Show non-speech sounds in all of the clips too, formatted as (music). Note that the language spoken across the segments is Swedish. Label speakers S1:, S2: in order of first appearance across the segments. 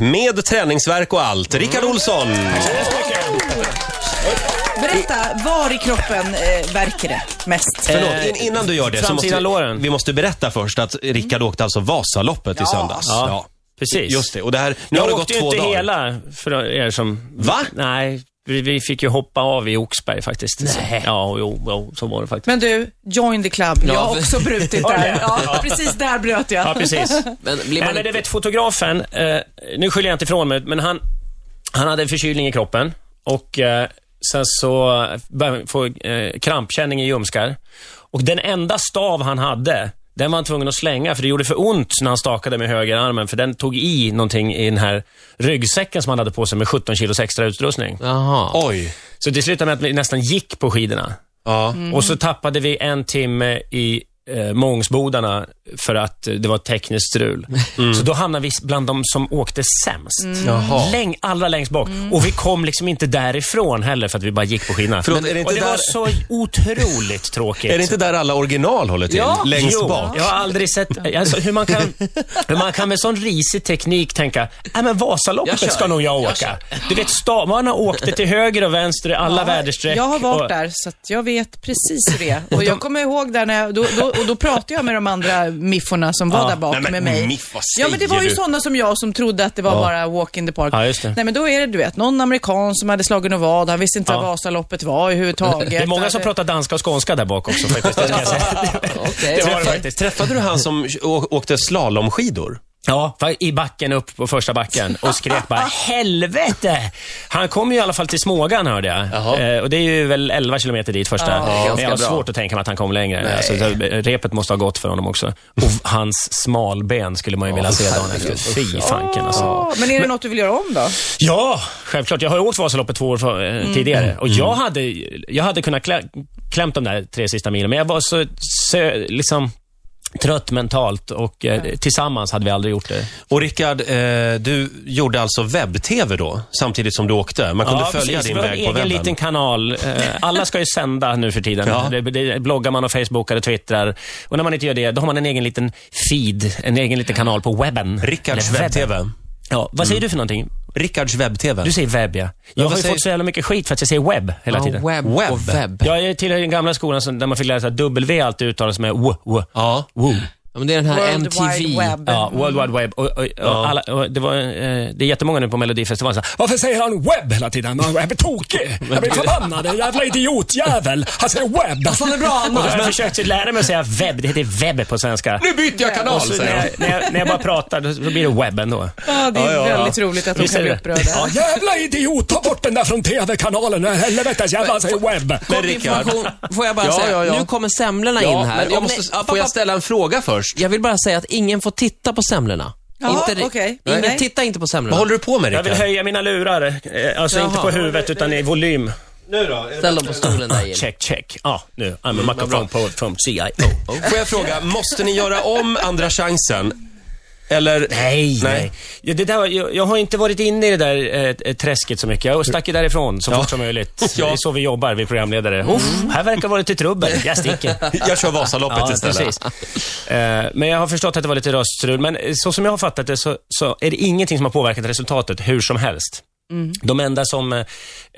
S1: Med träningsverk och allt. Rickard Olsson!
S2: Berätta, var i kroppen eh, verkar det mest?
S3: Eh.
S1: Förlåt, in, innan du gör det så måste
S3: framsida
S1: vi,
S3: låren.
S1: vi måste berätta först att Rickard åkte alltså Vasaloppet i söndags.
S3: Ja, precis.
S1: Just det, och det här, nu
S3: Jag
S1: har det gått
S3: åkte ju
S1: två
S3: inte
S1: dagar.
S3: hela för er som...
S1: Va?
S3: Nej, vi, vi fick ju hoppa av i Oxberg faktiskt. Nej. Ja, jo, jo, så var det faktiskt.
S2: Men du, join the club. Jag har också brutit där. Ja, precis där bröt jag.
S3: Ja, precis.
S4: Men blir
S3: Nej,
S4: man
S3: men det
S4: inte...
S3: vet fotografen, eh, nu skyller jag inte ifrån mig, men han, han hade en förkylning i kroppen och eh, sen så började han få eh, krampkänning i ljumskar. Och den enda stav han hade, den var han tvungen att slänga för det gjorde för ont när han stakade med högerarmen för den tog i någonting i den här ryggsäcken som han hade på sig med 17 kilos extra utrustning.
S4: Jaha.
S1: Oj.
S3: Så det slutade med att vi nästan gick på skidorna.
S1: Ja.
S3: Och
S2: Mm.
S3: så tappade vi en timme i eh, Mångsbodarna för att eh, det var
S2: (laughs)
S3: tekniskt strul.
S2: Mm.
S3: Så då hamnade vi bland de som åkte sämst.
S1: Jaha.
S3: Läng, allra längst bak.
S2: Mm.
S3: Och vi kom liksom inte därifrån heller för att vi bara gick på skidorna.
S1: Förlåt, är det
S3: och
S1: inte
S3: det
S1: där-
S3: var så otroligt
S1: (laughs)
S3: tråkigt.
S1: Är det inte där alla original håller till? Längst
S3: jo,
S1: bak?
S3: Jag har aldrig sett alltså, hur,
S1: (laughs)
S3: man kan, hur man kan med sån risig teknik tänka, nej men
S4: Jag kör.
S3: Vasaloppet ska nog jag
S4: Jag
S3: åka. du vet, stavarna åkte till höger och vänster i alla väderstreck.
S2: Jag har
S3: och-
S2: varit där, så att jag vet precis hur det är. Och jag kommer ihåg där när jag, då, då, och då pratade jag med de andra mifforna som var där bak
S1: Nej, men
S2: med mig.
S1: miff, vad
S2: ja, men det
S1: säger
S2: var ju
S1: du?
S2: sådana som jag som trodde att det var bara walk in the park.
S3: Ja, just det.
S2: Nej, men då är det, du vet, någon amerikan som hade slagit något vad, han visste inte vad Vasaloppet var överhuvudtaget.
S3: Det är många som
S2: Hade-
S3: pratar danska och skånska där bak också faktiskt. Det, ska jag
S4: (laughs)
S3: säga. (laughs)
S4: Okej.
S3: det var det faktiskt.
S1: Träffade du han (laughs) som å- åkte slalomskidor?
S3: Ja, var i backen upp på första backen och skrek bara helvete. Han kom ju i alla fall till Smågan hörde
S4: Jaha. Ah,
S3: jag. Eh, och det är ju väl 11 kilometer dit första. Men
S4: ganska
S3: jag har
S4: bra.
S3: svårt att tänka mig att han kom längre. Alltså, så repet måste ha gått för honom också. Och hans smalben skulle man ju vilja se dagen efter. Fy fanken alltså.
S2: Ja, men är det något du vill göra om då?
S3: Ja, självklart. Jag har ju åkt Vasaloppet två år för, eh,
S1: Mm.
S3: tidigare och jag hade, jag hade kunnat klä, klämt de där tre sista milen, men jag var så, så liksom, trött mentalt och eh, tillsammans hade vi aldrig gjort det.
S1: Och Rickard, eh, du gjorde alltså webb-tv då, samtidigt som du åkte. Man kunde följa
S3: precis.
S1: din
S3: Vi har
S1: väg
S3: en
S1: på webben.
S3: egen liten kanal. Eh, Alla ska ju sända nu för tiden.
S1: Ja.
S3: Det, det bloggar man och facebookar och twittrar. Och när man inte gör det, då har man en egen liten feed, en egen liten kanal på webben.
S1: Rickards
S3: Eller webben.
S1: webb-tv.
S3: Ja, vad säger du för någonting?
S1: Rickards webb-tv.
S3: Du säger webb, ja. Jag
S1: vad
S3: har ju
S1: säger-
S3: fått så jävla mycket skit för att jag säger webb hela
S4: Ja,
S3: tiden.
S4: webb,
S1: Webb.
S4: och webb. Ja.
S3: Jag är tillhör den gamla skolan som, där man fick lära sig att W alltid uttalas med w, w.
S1: Ja.
S3: Woo.
S4: men det är den här
S2: World Wide
S4: MTV.
S2: Web.
S3: Ja, World Wide Web. Och, och, och, alla, och det, var, eh, det är jättemånga nu på Melodifestivalen som säger Varför säger han webb hela tiden? Han är tokig. Jag blir förbannad. En jävla idiotjävel. Han säger webb. Och
S2: Fan, det är bra,
S3: då har
S2: Anna.
S3: jag försökt lära mig att säga webb. Det heter webb på svenska.
S1: Nu byter jag kanal,
S3: Och så när,
S1: säger
S3: jag, när, jag, när jag bara pratar, då då blir det webb ändå.
S2: Ja, det är väldigt roligt att de
S3: Visst
S2: kan
S3: är
S2: bli
S3: det?
S2: upprörda.
S3: jävla idiot. Ta bort den där från TV-kanalen. Helvetes jävla, han säger webb.
S1: Men Rickard.
S4: Information, får jag bara
S1: Ja,
S4: säga,
S1: ja, ja.
S4: nu kommer semlorna
S1: Ja,
S4: in här.
S1: men jag måste,
S4: Ja,
S1: får
S4: pappa,
S1: jag ställa en fråga först?
S4: jag vill bara säga att ingen får titta på semlorna.
S2: Jaha,
S4: Inte-
S2: okej.
S4: ingen,
S2: Nej.
S4: Titta inte på semlorna.
S1: Vad håller du på med
S3: Jag vill
S1: Rickard?
S3: höja mina lurar. Eh, Alltså
S4: Jaha.
S3: inte på huvudet utan i volym. Ah,
S4: Ställ dem på stolen där Mm, Jill.
S3: Check, check. Ja, nu. I'm a microphone po- from CIO.
S1: Får jag fråga, måste ni göra om Andra chansen? Eller?
S3: Nej, nej. Ja, det där, var- jag, jag har inte varit inne i det där eh, träsket så mycket. Jag stack ju därifrån så fort som möjligt.
S1: (laughs) Ja. Mm.
S3: Det är så vi jobbar, vi programledare. Uff, här verkar vara
S1: (laughs)
S3: lite trubbel. Jag sticker.
S1: Jag kör Vasaloppet
S3: Ja,
S1: istället.
S3: precis. Eh, men jag har förstått att det var lite röststrul. Men eh, så som jag har fattat det så, så är det ingenting som har påverkat resultatet hur som helst. De enda som, eh,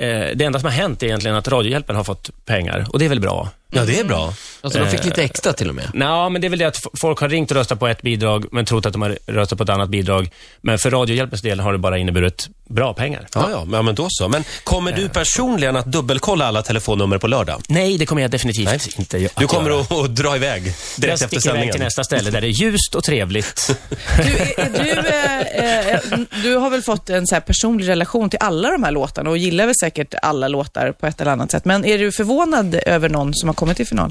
S3: eh, det enda som har hänt är egentligen att Radiohjälpen har fått pengar och det är väl bra.
S1: Ja, det är bra.
S4: Alltså, de fick lite extra till och med.
S3: Nå, men det är väl det att f- folk har ringt och röstat på ett bidrag, men trott att de har röstat på ett annat bidrag. Men för Radiohjälpens del har det bara inneburit bra pengar.
S1: Ja, ja, men- ja, men då så. Men kommer du personligen att dubbelkolla alla telefonnummer på lördag?
S3: Nej, det kommer jag definitivt inte att
S1: Du kommer
S3: göra.
S1: att, att dra iväg
S3: Jag
S1: direkt efter
S3: sticker iväg
S1: sändningen.
S3: till nästa ställe där det är ljust
S1: (laughs)
S3: och trevligt.
S2: Du, är, är du, eh, eh, du har väl fått en så här personlig relation till alla de här låtarna och gillar väl säkert alla låtar på ett eller annat sätt. Men är du förvånad över någon som har kommit till final?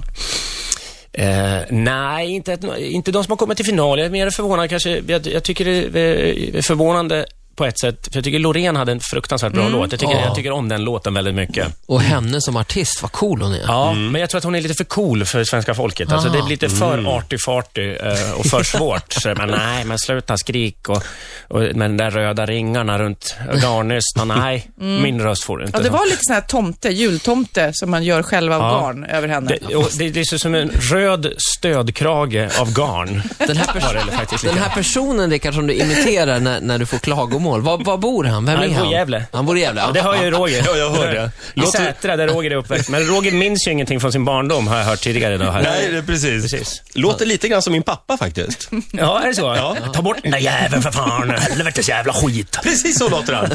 S3: Eh, nej, inte, att- inte de som har kommit till final. Jag är mer förvånad kanske. Jag, jag tycker det är eh, förvånande på ett sätt. För jag tycker Loreen hade en fruktansvärt
S1: Mm.
S3: bra låt. Jag tycker, jag tycker om den låten väldigt mycket.
S4: Och henne som artist, vad cool hon är.
S3: Ja, men jag tror att hon är lite för cool för svenska folket. Alltså, det blir lite för arty-farty eh, och för svårt. Så, men, nej, men sluta skrik och, och med de där röda ringarna runt garnnystan. Nej, min röst får du inte.
S2: Ja, det var lite sån här tomte, jultomte, som man gör själv av
S3: Ja.
S2: garn över henne.
S3: det, och det, det ser ut som en röd stödkrage av garn.
S4: Den, här pers-
S3: Var det faktiskt
S4: den
S3: lite.
S4: här personen Rickard som du imiterar när, när du får klagomål Göteborgsmål. Var, var bor han? Vem
S3: Han
S4: är
S3: bor i
S4: han?
S3: Gävle.
S4: Han bor i Gävle,
S3: Ja, det hör ju Roger.
S1: Ja, jag hör det.
S3: I
S1: Låter-
S3: Sätra, där Roger är uppväxt. Men Roger minns ju ingenting från sin barndom, har jag hört tidigare idag. Här.
S1: Nej, det är precis.
S3: Precis.
S1: Låter lite grann som min pappa faktiskt.
S3: (laughs) Ja, är det så? Ta bort den där jäveln för fan. Helvetes jävla skit.
S1: Precis så låter
S3: (laughs)
S1: han.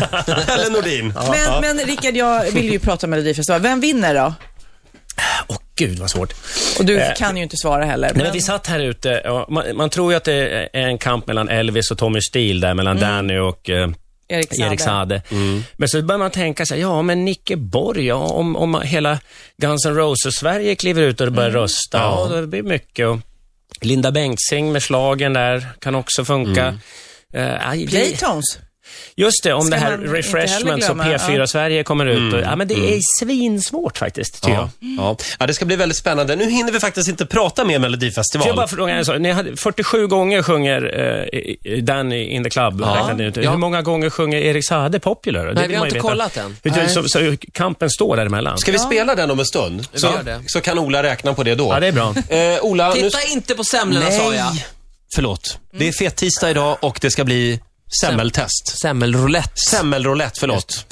S1: Helen Nordin.
S2: Men, men Rickard, jag vill ju prata om Melodifestivalen. Vem vinner då?
S3: Åh, gud vad svårt.
S2: Och du
S3: Eh,
S2: kan ju inte svara heller.
S3: Nej, men vi satt här ute. och Man, man tror ju att det är en kamp mellan Elvis och Tommy Steele där, mellan
S2: Mm.
S3: Danny och eh,
S2: Erik Saade.
S3: Erik Saade. Men så börjar man tänka så här, ja men Nicke Borg, ja, om, om hela Guns N' Roses-Sverige kliver ut och
S2: Mm.
S3: börjar rösta, ja. det blir mycket. Och Linda Bengtzing med slagen där kan också funka. Eh, aj, det-
S2: Playtones.
S3: Just det, om
S2: Mm. Ska
S3: det här
S2: man inte
S3: refreshment
S2: heller
S3: som
S2: glömma,
S3: P4
S2: ja. Mm.
S3: Sverige kommer ut. och, ja, men det är svinsvårt faktiskt, tycker jag.
S1: Ja. Ja. ja, det ska bli väldigt spännande. Nu hinner vi faktiskt inte prata mer
S3: Får jag bara
S1: Melodifestival.
S3: fråga en sak? Ni hade 47 gånger sjunger eh, i- i- Danny in the club, räknade ni ut.
S4: Ja.
S3: Hur många gånger sjunger Erik Saade Popular? Det vill
S4: vi har
S3: man ju
S4: inte
S3: veta.
S4: kollat än.
S3: Hur-
S4: Nej.
S3: Så, så hur kampen står däremellan.
S1: Ska vi spela den om en stund? Så,
S4: gör det.
S1: så kan Ola räkna på det då.
S3: Ja, det är bra.
S1: Eh, Ola, nu...
S4: Titta inte på semlorna sa jag.
S1: Förlåt. Det är fettisdag idag och det ska bli semmeltest.
S4: Semmelroulette.
S1: Semmelroulette, förlåt.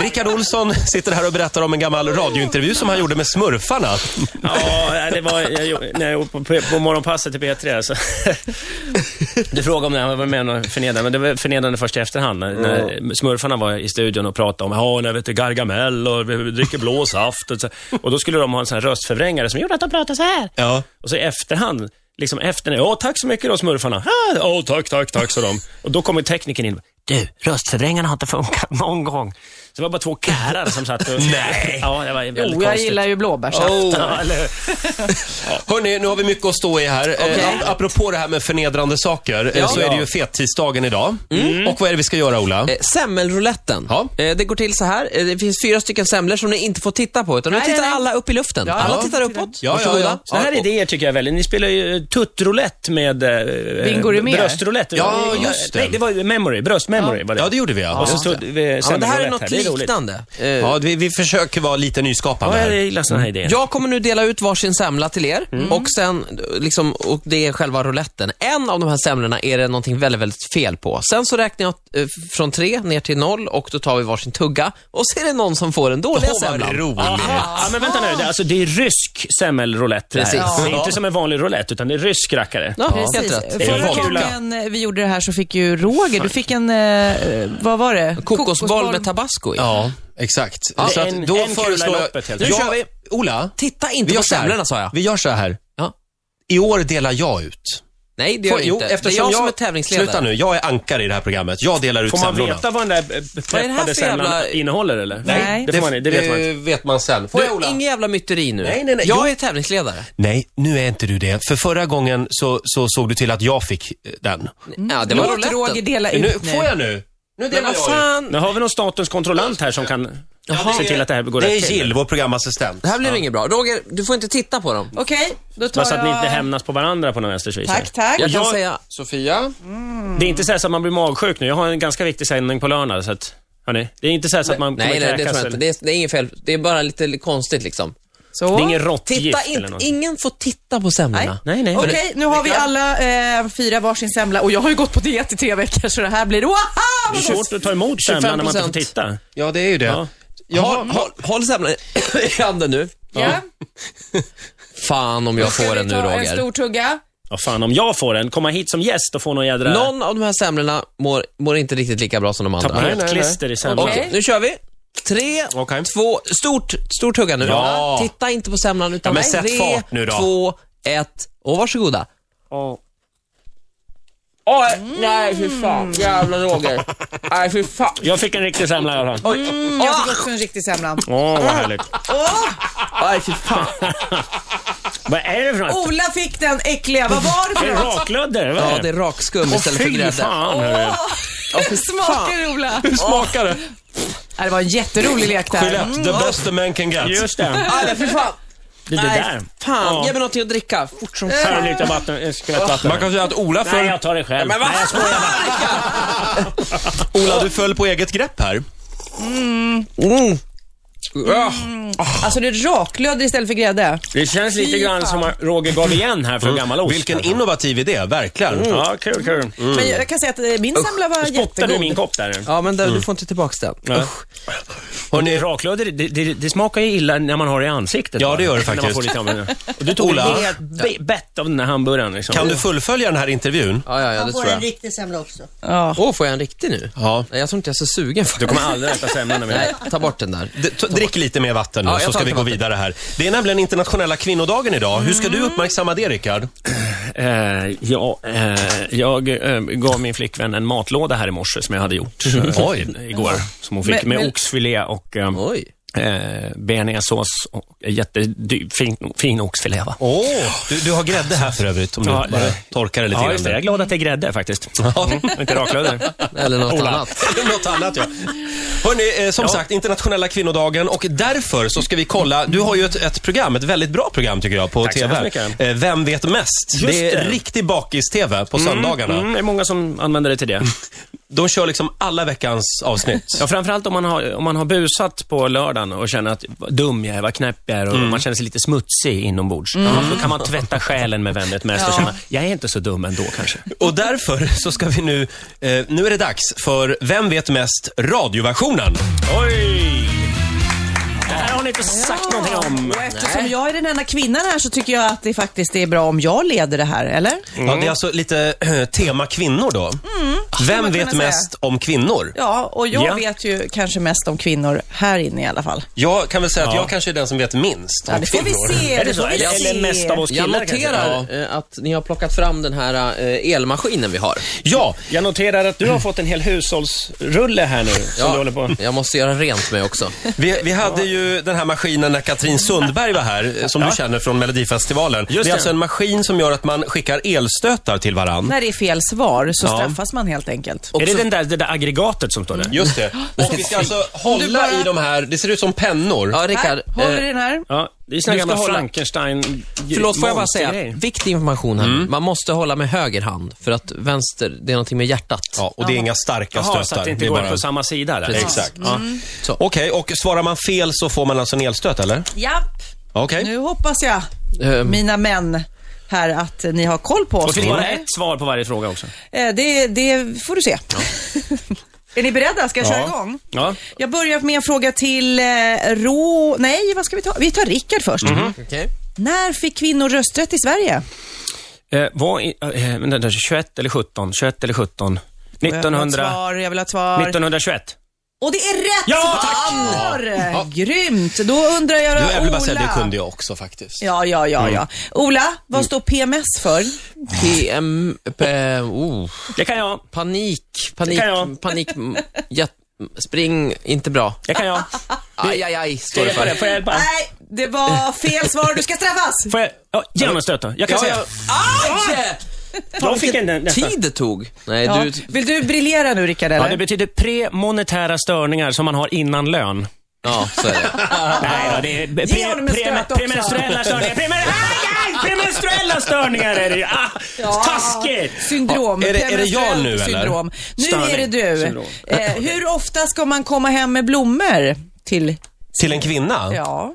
S1: Rickard Olsson sitter här och berättar om en gammal radiointervju som han gjorde med Smurfarna.
S3: Ja, det var jag, gjorde- när jag var på, på morgonpasset i P3. Så. (laughs) Du frågade om det här var med och förnedrande, men det var förnedrande först i efterhand. När, när smurfarna var i studion och pratade om, ja, när vet du, Gargamel och vi dricker blå saft. Och, så. och då skulle de ha en sån här röstförvrängare som gjorde att de pratade så här.
S1: Ja.
S3: Och så i efterhand, liksom efter, ja tack så mycket då smurfarna. Ja, åh, tack, tack, tack, sa de. Och då kommer tekniken in. Du, röstförvrängarna har inte funkat någon gång. Så det var bara två karlar som satt och...
S1: Nej.
S3: Ja, det var väldigt
S2: Jo, jag
S3: konstigt.
S2: gillar ju blåbärssaft.
S3: Ja, eller hur?
S1: Hörni, Oh. nu har vi mycket att stå i här.
S4: Okej.
S1: Eh, apropå det här med förnedrande saker, eh, så är det ju fettisdagen idag. Och vad är det vi ska göra, Ola?
S4: Eh, Semmelrouletten.
S1: Ja.
S4: Eh, Det går till så här. Eh, Det finns fyra stycken semlor som ni inte får titta på, utan nu
S2: Nej,
S4: tittar
S2: nej, nej.
S4: alla upp i luften.
S2: Ja,
S4: alla
S2: ja.
S4: tittar uppåt.
S1: Ja, ja,
S4: Varsågoda.
S1: ja.
S3: Såna här
S1: och-
S3: idéer tycker jag är väldigt... Ni spelar ju tuttroulette med... eh,
S2: Bingo Rimér.
S3: Bröstroulette.
S1: Ja, just det.
S3: Nej, det var ju memory. Bröstmemory var det.
S1: Ja, det gjorde vi, ja.
S3: Och så
S1: Just
S3: stod vi
S4: Ja, men det här är
S3: semmelroulette
S4: något
S3: Det roligt.
S4: liknande. Eh,
S1: Ja, vi, vi försöker vara lite nyskapande
S3: Ja, jag
S1: här.
S3: gillar såna här idéer.
S4: Jag kommer nu dela ut varsin semla till er
S1: Mm.
S4: och sen, eh, liksom, och det är själva rouletten. En av de här semlorna är det någonting väldigt, väldigt fel på. Sen så räknar jag eh, från tre ner till noll och då tar vi varsin tugga och så är det någon som får den dåliga
S1: Åh, vad
S4: semlan.
S1: roligt.
S3: Ja, men vänta nu. Det, är alltså, det är rysk semmelroulette. det här.
S4: Precis.
S3: Det är
S1: Ja.
S3: inte som en vanlig roulette, utan det är rysk rackare.
S4: Ja, helt
S2: Precis.
S4: rätt.
S1: Det är
S2: Förra
S1: en kula.
S2: gången eh, vi gjorde det här så fick ju Roger, du fick en, eh, vad var det?
S4: Kokosboll med tabasco i.
S1: Ja, exakt. så att
S3: en-
S1: då
S3: en kula i
S1: föreslår jag...
S3: loppet, helt
S1: Nu
S4: enkelt.
S1: kör vi. Ola,
S4: Titta
S1: vi
S4: inte
S1: gör
S4: på
S1: så här.
S4: semlorna sa jag.
S1: Vi gör så här.
S4: Ja.
S1: I år delar jag ut.
S4: Nej, det gör
S1: Får-
S4: jag inte. det är jag, som är tävlingsledare.
S1: Sluta nu, jag är ankare i det här programmet. Jag delar ut
S3: Får man
S1: semlorna.
S3: veta vad den där eh,
S4: Vad är det här
S3: preppade
S4: för
S3: semlan
S4: jävla-
S3: innehåller eller?
S2: Nej.
S3: Det, får man, det vet man inte.
S1: det vet man sen. Får jag
S4: Du,
S1: Ola?
S4: ingen jävla myteri nu.
S1: Nej, nej, nej.
S4: Jag
S1: Jo.
S4: är tävlingsledare.
S1: Nej, nu är inte du det. För förra gången så, så såg du till att jag fick eh, den.
S4: Ja, det var
S2: Låt Roger
S4: rouletten.
S2: dela ut
S1: Nu,
S2: nu.
S1: får jag nu? Nu
S4: Men
S1: delar
S4: vad
S1: jag ut.
S4: fan.
S3: Nu har vi någon statens kontrollant här som kan se till att det här går
S1: Det
S3: rätt
S1: är
S3: till.
S1: Jill, vår programassistent.
S4: Det här blir inget bra. Roger, du får inte titta på dem.
S2: Okej, då
S3: Bara
S2: tar
S3: så att ni inte
S2: jag...
S3: hämnas på varandra på något vänsters vis. här.
S2: Tack, tack.
S4: Jag kan
S3: Jag-
S4: säga...
S1: Sofia?
S3: Det är inte så, här så att man blir magsjuk nu. Jag har en ganska viktig sändning på lördag, så att... Hörni, det är inte så, här så att man kommer
S4: Nej, nej, det
S3: kräkas
S4: tror jag inte.
S3: eller-
S4: Det är, det är inget fel. Det är bara lite konstigt liksom.
S2: Så.
S3: Det är ingen
S4: Titta
S3: råttgift eller
S4: inte.
S3: något.
S4: Ingen får titta på semlorna.
S3: Nej, nej.
S2: Okej, nu har vi alla eh, fyra varsin semla och jag har ju gått på diet i tre veckor så det här blir... Wow!
S3: Det är svårt att ta emot semlan när man inte får
S4: 25%.
S3: titta.
S1: Ja, det är ju det.
S3: Ja.
S1: Jaha,
S4: Håll, håll, håll semlan i handen nu.
S2: Ja.
S4: Fan om jag får
S2: Ska
S4: den
S2: vi
S4: nu,
S2: ta en stor
S4: Roger.
S2: tugga?
S3: Ja, fan, om jag får en, komma hit som gäst och få någon jädra
S4: Någon av de här semlorna mår, mår inte riktigt lika bra som de andra.
S1: nej, nej.
S3: tapetklister i semlan.
S2: Okej.
S4: Okej, nu kör vi. Tre,
S1: Okej.
S4: två, stort, stort tugga nu.
S1: Ja.
S4: Titta inte på semlan utan
S1: Ja, men
S4: Nej.
S1: sätt
S4: tre,
S1: fart nu då.
S4: två, ett och varsågoda.
S3: Ja.
S4: Oj, nej fy fan. Jävla Roger. Nej fy fan.
S3: Jag fick en riktig semla i alla fall.
S2: Mm, jag fick också en riktig semla.
S3: Åh, vad härligt.
S4: Nej fy fan.
S3: Vad är det för något?
S2: Ola fick den äckliga, vad var det
S3: Det
S2: för
S3: är
S2: något?
S3: raklödder, vad
S4: Ja,
S3: är
S4: det är
S3: det?
S4: rakskum
S3: Åh,
S4: istället för
S3: fy
S4: grädde.
S3: fan, hörru.
S2: Hur smakar Ola?
S1: Hur smakar det?
S2: Ja, det var en jätterolig lek där.
S1: Gillette, the best a man can get.
S3: Just det.
S4: Nej fy fan.
S3: Det är det
S4: Nej
S3: där.
S4: fan.
S3: Ja.
S4: Ge mig någonting att dricka fort som
S3: Här
S4: fan.
S3: är lite vatten, en skvätt vatten.
S1: Oh. Man kan säga att Ola
S3: Nej,
S1: föll,
S3: jag tar det själv.
S4: Men vad fan
S1: Ola, du föll på eget grepp här.
S4: Mm. Ah,
S2: Alltså det är raklödder istället för grädde.
S3: Det känns lite
S2: Fy
S3: grann
S2: fan.
S3: som att Roger gav igen här för gammal ost.
S1: Mm. Vilken innovativ idé, verkligen.
S3: Ja, kul, kul.
S4: Mm.
S2: Men jag kan säga att eh, min semla var
S3: Spottade du i min
S2: jättegod.
S3: kopp där?
S4: Ja, men där, du får inte tillbaka den.
S3: Ja.
S4: Usch.
S1: Hörrni,
S3: Raklödder, det, det, det smakar ju illa när man har det i ansiktet.
S1: Ja,
S3: va?
S1: det gör det
S3: När man
S1: faktiskt.
S3: får lite av det. Och du tog
S1: Ola?
S3: ett be- bett av den här hamburgaren. Liksom.
S1: kan du fullfölja den här intervjun?
S4: Ja, ja, ja, det
S5: Han
S4: tror
S5: får en
S4: jag.
S5: riktig semla också.
S2: Ja.
S4: Åh, får jag en riktig nu?
S1: Ja.
S4: Nej, jag tror inte jag är så sugen faktiskt.
S3: Du kommer aldrig äta semlan med
S4: Nej, ta bort den där.
S1: D- t- drick lite mer vatten nu
S4: Ja, jag
S1: så
S4: tar
S1: ska vi
S4: lite
S1: gå
S4: vatten.
S1: vidare här. Det är nämligen internationella kvinnodagen idag. Hur ska
S3: Mm.
S1: du uppmärksamma det, Rickard?
S3: Eh, ja, eh, jag eh, gav min flickvän en matlåda här i morse som jag hade gjort eh,
S1: Oj.
S3: igår. Som hon fick
S2: Men-
S3: med
S2: men-
S3: oxfilé och eh,
S4: Oj.
S3: eh, bearnaisesås och jättefin fin, fin oxfilé. Va?
S1: Åh, du, du har grädde här för övrigt om du
S3: Ja,
S1: bara
S3: eh,
S1: torkar det lite
S3: Ja,
S1: grann.
S3: just det. Jag är
S1: där. (laughs)
S3: glad att det är grädde faktiskt. Mm, Inte raklödder.
S4: Eller något
S3: Ola.
S4: annat.
S1: Något annat ja. Hörrni, eh, som sagt, internationella kvinnodagen och därför så ska vi kolla, du har ju ett, ett program, ett väldigt bra program tycker jag på
S3: Tack så
S1: TV.
S3: hemskt mycket.
S1: Eh, Vem vet mest?
S3: Just
S1: det är
S3: det.
S1: riktig bakis-TV på söndagarna.
S3: Mm, det är många som använder det till det.
S1: De kör liksom alla veckans avsnitt.
S3: (laughs) Ja, framförallt om man, har, om man har busat på lördagen och känner att vad dum jag är, vad knäpp jag är och man känner sig lite smutsig inombords. Då kan man tvätta själen med Vem vet mest och känna, jag är inte så dum ändå kanske.
S1: Och därför så ska vi nu, eh, nu är det dags för Vem vet mest? Radioversionen.
S3: Mm. Oj! Det här har ni inte sagt någonting om.
S2: Och eftersom jag är den enda kvinnan här så tycker jag att det faktiskt är bra om jag leder det här, eller?
S1: Ja, det är alltså lite eh, tema kvinnor då. Vem
S2: man
S1: vet
S2: kunna
S1: mest om kvinnor?
S2: Ja, och jag
S3: Ja.
S2: vet ju kanske mest om kvinnor här inne i alla fall.
S1: Jag kan väl säga att jag kanske är den som vet minst om
S2: Ja, det får
S1: kvinnor.
S2: vi se.
S3: Är det så?
S2: får vi
S3: Eller,
S2: se.
S3: eller mest av oss killar
S4: Jag noterar
S3: kanske?
S4: eh, att ni har plockat fram den här eh, elmaskinen vi har.
S1: Ja,
S3: Jag noterar att du har fått en hel hushållsrulle här nu som du håller på.
S4: jag måste göra rent med också.
S1: Vi, vi hade ju den här maskinen när Katrin Sundberg var här, eh, som du känner från Melodifestivalen.
S3: Just
S1: det är
S3: det.
S1: alltså en maskin som gör att man skickar elstötar till varann.
S2: När det är fel svar så straffas man helt enkelt.
S3: Är det den där, det där aggregatet som står där?
S1: Just det. Och vi ska alltså hålla
S2: bara-
S1: i de här, det ser ut som pennor.
S4: Ja, Rickard.
S2: Här, håller i
S4: eh,
S2: den här.
S3: Ja, det är såna
S4: Du ska
S3: gamla
S4: hålla-
S3: Frankenstein...
S4: Förlåt, får jag bara säga,
S3: monstergrejer.
S4: viktig information här.
S3: Mm.
S4: Man måste hålla med höger hand, för att vänster, det är någonting med hjärtat.
S1: Ja, och det är inga starka
S3: Jaha, så
S1: stötar.
S3: att det inte
S1: är
S3: går
S1: bara-
S3: på samma sida där.
S1: Exakt.
S3: Ja.
S2: Mm.
S1: Okej, och svarar man fel så får man alltså en elstöt, eller?
S2: Japp.
S1: Okej.
S2: Nu hoppas jag,
S4: Ehm.
S2: mina män här, att ni har koll på
S3: Och
S2: oss.
S3: det finns bara
S2: Eh,
S3: ett svar på varje fråga också.
S2: Det, det får du se. (laughs) är ni beredda? Ska jag köra igång?
S3: Ja.
S2: Jag börjar med en fråga till eh, Rå... Nej, vad ska vi ta? Vi tar Rickard först.
S4: Okej.
S2: När fick kvinnor rösträtt i Sverige?
S3: Eh, var i, eh, vänta, vänta, 21 eller 17? 21 eller 17?
S2: Jag vill ha ett
S3: 1900,
S2: svar. Jag vill ha ett svar.
S3: 1921.
S2: Och det är rätt
S3: Ja, tack!
S2: svar! Grymt! Då undrar jag
S1: Nu, jag vill bara
S2: Ola.
S1: säga, det kunde jag också faktiskt.
S2: Ja, ja, ja, ja. Ola, vad står PMS för?
S4: PM... P, oh,
S3: Det kan jag.
S4: panik, panik,
S3: Det kan jag.
S4: panik... m, Jätt, spring, inte bra.
S3: Det kan jag.
S4: Aj, aj, aj, står
S3: Får
S4: det
S3: jag hjälpa dig?
S4: för.
S3: Får jag hjälpa?
S2: Nej, det var fel svar. Du ska straffas!
S3: Får jag? Ja, ge honom en stöt då. Jag kan
S4: Ja,
S3: säga.
S4: ja. Aj!
S3: Jag fick en nä- nästan.
S4: Tid det tog. Nej,
S2: Ja.
S4: du...
S2: Vill du briljera nu, Rickard?
S3: Ja,
S2: Eller?
S3: det betyder premonetära störningar som man har innan lön.
S4: Ja, så är det.
S3: Nej, då, det är pre,
S2: Ge honom en stöt
S3: pre,
S2: också.
S3: premenstruella störningar. Premen, aj, aj, premenstruella störningar är det ju. Ah, Taskigt!
S2: Syndrom.
S1: Ja, är det- är det jag nu, eller?
S2: syndrom. Nu
S3: Störning.
S2: är det du.
S3: Syndrom.
S2: Eh, hur ofta ska man komma hem med blommor till...
S1: Till en kvinna?
S2: Ja.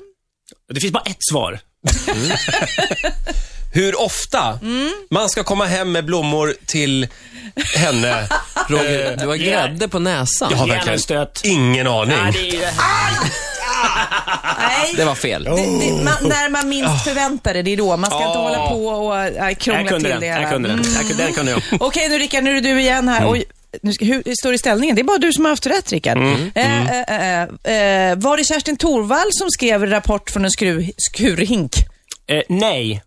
S3: Det finns bara ett svar.
S1: Hur ofta
S2: Mm.
S1: man ska komma hem med blommor till
S2: (laughs)
S1: henne?
S3: Eh,
S4: Roger, du har grädde på näsan.
S1: Jag har
S3: Ge
S1: verkligen
S3: henne en stöt.
S1: ingen aning.
S3: Nej, det är ju-
S2: Nej.
S4: Det var fel.
S2: Det, det, man, när man minst förväntar det, det är då. Man ska inte
S3: Ja.
S2: hålla på och äh,
S3: Jag
S2: krångla till
S3: kunde
S2: det
S3: den. Jag
S2: hela. Mm.
S3: kunde den. Jag kunde- Den kunde jag.
S2: Okej nu Rickard, nu är det du igen här. Oj, nu ska, hur står det i ställningen? Det är bara du som har haft rätt Rickard. Eh, eh, eh, eh, var det Kerstin Thorvall som skrev rapport från en skruv, skurhink?
S3: Eh, nej.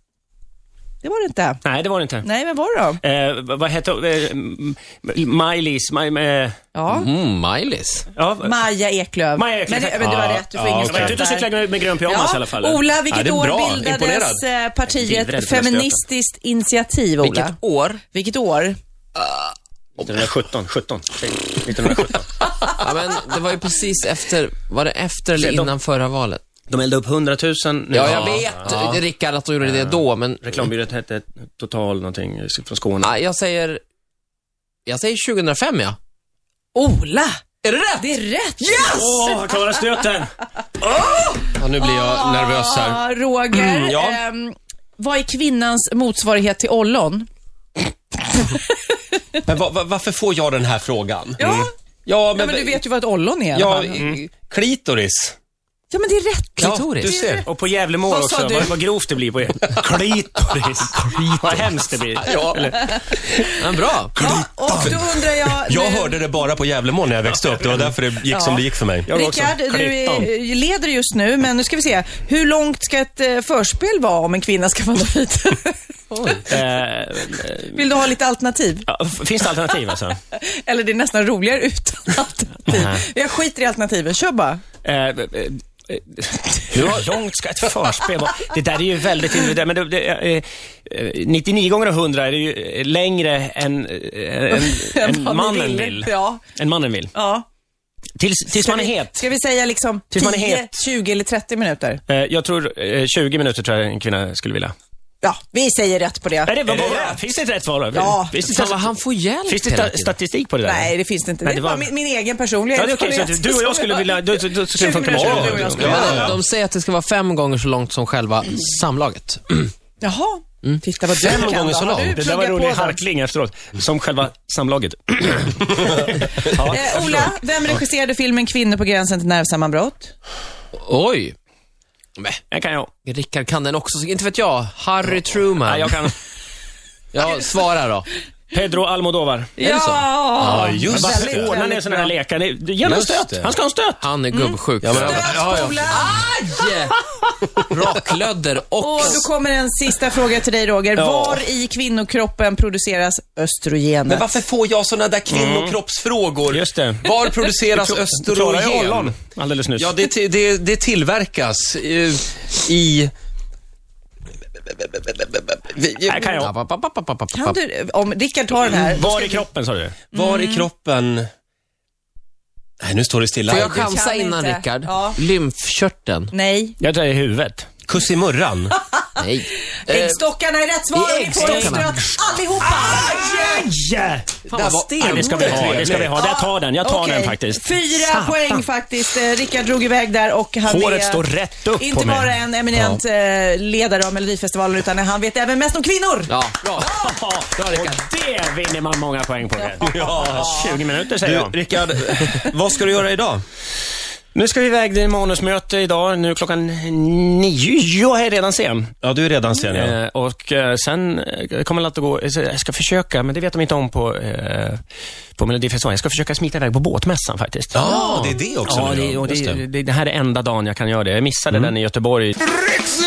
S2: Det var det inte.
S3: Nej, det var det inte.
S2: Nej, vem var det då?
S3: Eh, vad vad hette eh, m- Maj-Lis? Maj, eh,
S2: Ja.
S4: Mm, Maj-Lis.
S3: ja,
S2: Maja Eklöf.
S3: Eh, Maja
S2: Men,
S3: Eklöf.
S2: det, men du har rätt, du får
S1: Ja,
S2: ingen
S1: okej.
S3: jag var
S2: stöd
S3: inte ute och
S2: där.
S3: cyklade med, med grön pyjamas i alla fall.
S2: Ola, vilket
S1: Ja, det är
S2: år
S1: bra.
S2: bildades
S1: Imponerad.
S2: eh,
S3: Jag är livrädd
S2: partiet
S3: för den stöten.
S2: Feministiskt initiativ, Ola?
S4: Vilket år?
S2: Vilket år?
S3: 1917, 17. 1917.
S4: Ja, men det var ju precis efter, var det efter eller
S3: De-
S4: innan förra valet?
S3: De eldade upp 100 000 nu.
S4: Ja, jag vet Rickard att de gjorde det då, men
S3: Reklambyrån hette Total någonting eh, från Skåne.
S4: nej, jag säger, jag säger 2005 ja.
S3: Ah,
S2: Ola!
S4: Är det rätt?
S2: Det är rätt!
S4: Yes!
S3: Åh, oh, klara stöten!
S1: Ja, nu blir jag nervös här.
S2: Ja, Roger.
S1: Mm, ja.
S2: ehm, vad är kvinnans motsvarighet till ollon?
S1: Men va, va, varför får jag den här frågan? Mm.
S2: Ja,
S1: Ja,
S2: Mm. ja men du vet Mm. ju vad ett ollon är i alla
S1: Ja,
S2: fall.
S1: i- klitoris.
S2: Ja, men det är rätt.
S1: Ja,
S4: Klitoris.
S1: du ser.
S3: Och på Gävlemål
S2: Vad sa
S3: också.
S2: du?
S3: Vad, vad grovt det blir på er. Klitoris. Vad hemskt det blir.
S4: Ja.
S3: Ah.
S4: Men bra.
S2: Ja, och då undrar jag...
S1: Jag
S2: nu-
S1: hörde det bara på Gävlemål när jag växte upp. Det var därför det gick som det gick för mig.
S3: Jag också.
S2: Rickard, du
S3: Klittan.
S2: är- leder just nu, men nu ska vi se. Hur långt ska ett eh, förspel vara om en kvinna ska vandra hit?
S1: (laughs)
S3: Eh,
S2: Vill du ha lite alternativ?
S3: ja, f- finns det alternativ alltså?
S2: Eller det är nästan roligare utan (laughs) alternativ. Jag skiter i alternativen, kör bara.
S3: Eh, eh, eh, (laughs) Hur långt ska ett förspel vara? Det där är ju väldigt individuellt. Men det, det, eh, eh, 99 gånger av 100 är det ju eh, längre än, eh, än,
S2: (laughs) Än vad
S3: än
S2: ni
S3: mannen
S2: ville.
S3: vill.
S2: Ja.
S3: Än mannen vill.
S2: Ja.
S3: Tills, tills
S2: Ska
S3: man är
S2: vi-
S3: het.
S2: Ska vi säga liksom
S3: Tills man är
S2: 10,
S3: het.
S2: 20 eller 30 minuter?
S3: Eh, Jag tror eh, 20 minuter tror jag en kvinna skulle vilja.
S2: Ja, vi säger rätt på
S3: Är
S2: det.
S3: det, vad,
S1: Är det
S3: vad-
S1: rätt?
S3: Finns det ett rätt svar? då?
S2: Ja.
S3: Finns det,
S4: Fan vad han får hjälp
S3: finns det
S4: hela
S3: sta-
S4: tiden.
S3: statistik på det där?
S2: Nej, det finns det inte.
S3: Nej,
S2: det
S3: det
S2: var
S3: var-
S2: min, min egen personliga
S3: Ja, det är okej.
S2: erfarenhet.
S3: Så du och jag skulle vilja... Då, då, då, skulle det funka med
S2: 20
S3: oss.
S2: minuter, du och jag skulle-
S4: Ja,
S2: Ja,
S4: men de säger att det ska vara fem gånger så långt som själva samlaget.
S2: Jaha,
S3: Mm.
S2: titta vad du
S4: Fem
S2: kan.
S4: gånger
S2: då. Har
S4: så långt.
S2: du
S3: Det där var en
S2: pluggat
S3: rolig
S2: på den?
S3: harkling efteråt, som själva samlaget. (clears throat) ja,
S2: Eh, Ola, vem regisserade filmen Kvinnor på gränsen till nervsammanbrott?
S4: Oj. Men,
S3: det kan jag.
S4: Rickard kan den också, så- inte vet jag. Harry Truman.
S3: Nej, jag
S2: (laughs)
S3: kan.
S4: Ja, svara då.
S3: Pedro Almodovar.
S4: Är det så?
S1: Ja, just
S3: Varför
S1: det.
S2: väldigt,
S3: ordnar ni
S2: väldigt
S3: en sån här
S2: bra.
S3: lekar? Ni- Ge honom en
S1: Just
S3: stöt.
S1: det.
S3: Han ska ha en stöt.
S4: Han är gubbsjuk.
S1: Ja, men-
S2: Ola! Ah,
S4: Aj! Raklödder och...
S2: Och då kommer en sista fråga till dig Roger.
S3: Ja.
S2: Var i kvinnokroppen produceras östrogenet?
S1: Men varför får jag såna där kvinnokroppsfrågor?
S3: Just det.
S1: Var produceras
S3: Klara ju
S1: östrogen?
S3: ollon alldeles nyss.
S1: Ja, det, ti- det, det tillverkas eh, i...
S3: Här kan jag.
S2: Kan du, om Mm. Rickard tar den här.
S3: Var i kroppen sa du?
S1: Var
S2: Mm.
S1: i kroppen... Nej, nu står det stilla.
S4: Får jag chansa
S2: Kan
S4: innan
S2: inte.
S4: Rickard?
S2: Ja.
S4: Lymfkörteln?
S2: Nej.
S3: Jag tror det är i huvudet.
S1: Kuss i murran.
S4: Nej.
S2: Eh, Äggstockarna är rätt svar
S4: det är
S2: och ni får en
S4: äggstockarna.
S2: stöt allihopa!
S3: Ah, Yeah!
S4: Fan vad
S3: Ja, det ska vi ha. Det ska vi ha. Jag tar den. Jag tar
S2: Okej.
S3: den faktiskt.
S2: Fyra poäng faktiskt. Eh, Rickard drog iväg där och han
S3: Håret
S2: är
S3: står rätt upp
S2: inte
S3: på mig.
S2: bara en eminent eh, ledare av Melodifestivalen utan han vet även mest om kvinnor.
S4: Ja, bra.
S3: Ja,
S4: Rickard.
S3: och det vinner man många poäng på. Det. Ja, 20 minuter säger
S1: Du,
S3: jag.
S1: Rickard, (laughs) vad ska du göra idag?
S3: Nu ska vi iväg till manusmöte idag. Nu klockan nio. Jag är redan sen.
S1: Ja, du är redan sen. Ja.
S3: Eh, och eh, sen eh, kommer allt att gå... eh, så Jag ska försöka, men det vet de inte om på, eh, på Melodifestivalen. Jag ska försöka smita iväg på båtmässan faktiskt.
S1: Ja, det är det också
S3: Ja,
S1: nu,
S3: det,
S1: ja.
S3: och
S1: Just
S3: det,
S1: det. Mm.
S3: det, det här är enda dagen jag kan göra det. Jag missade den i Göteborg.
S5: Ritzmorgon!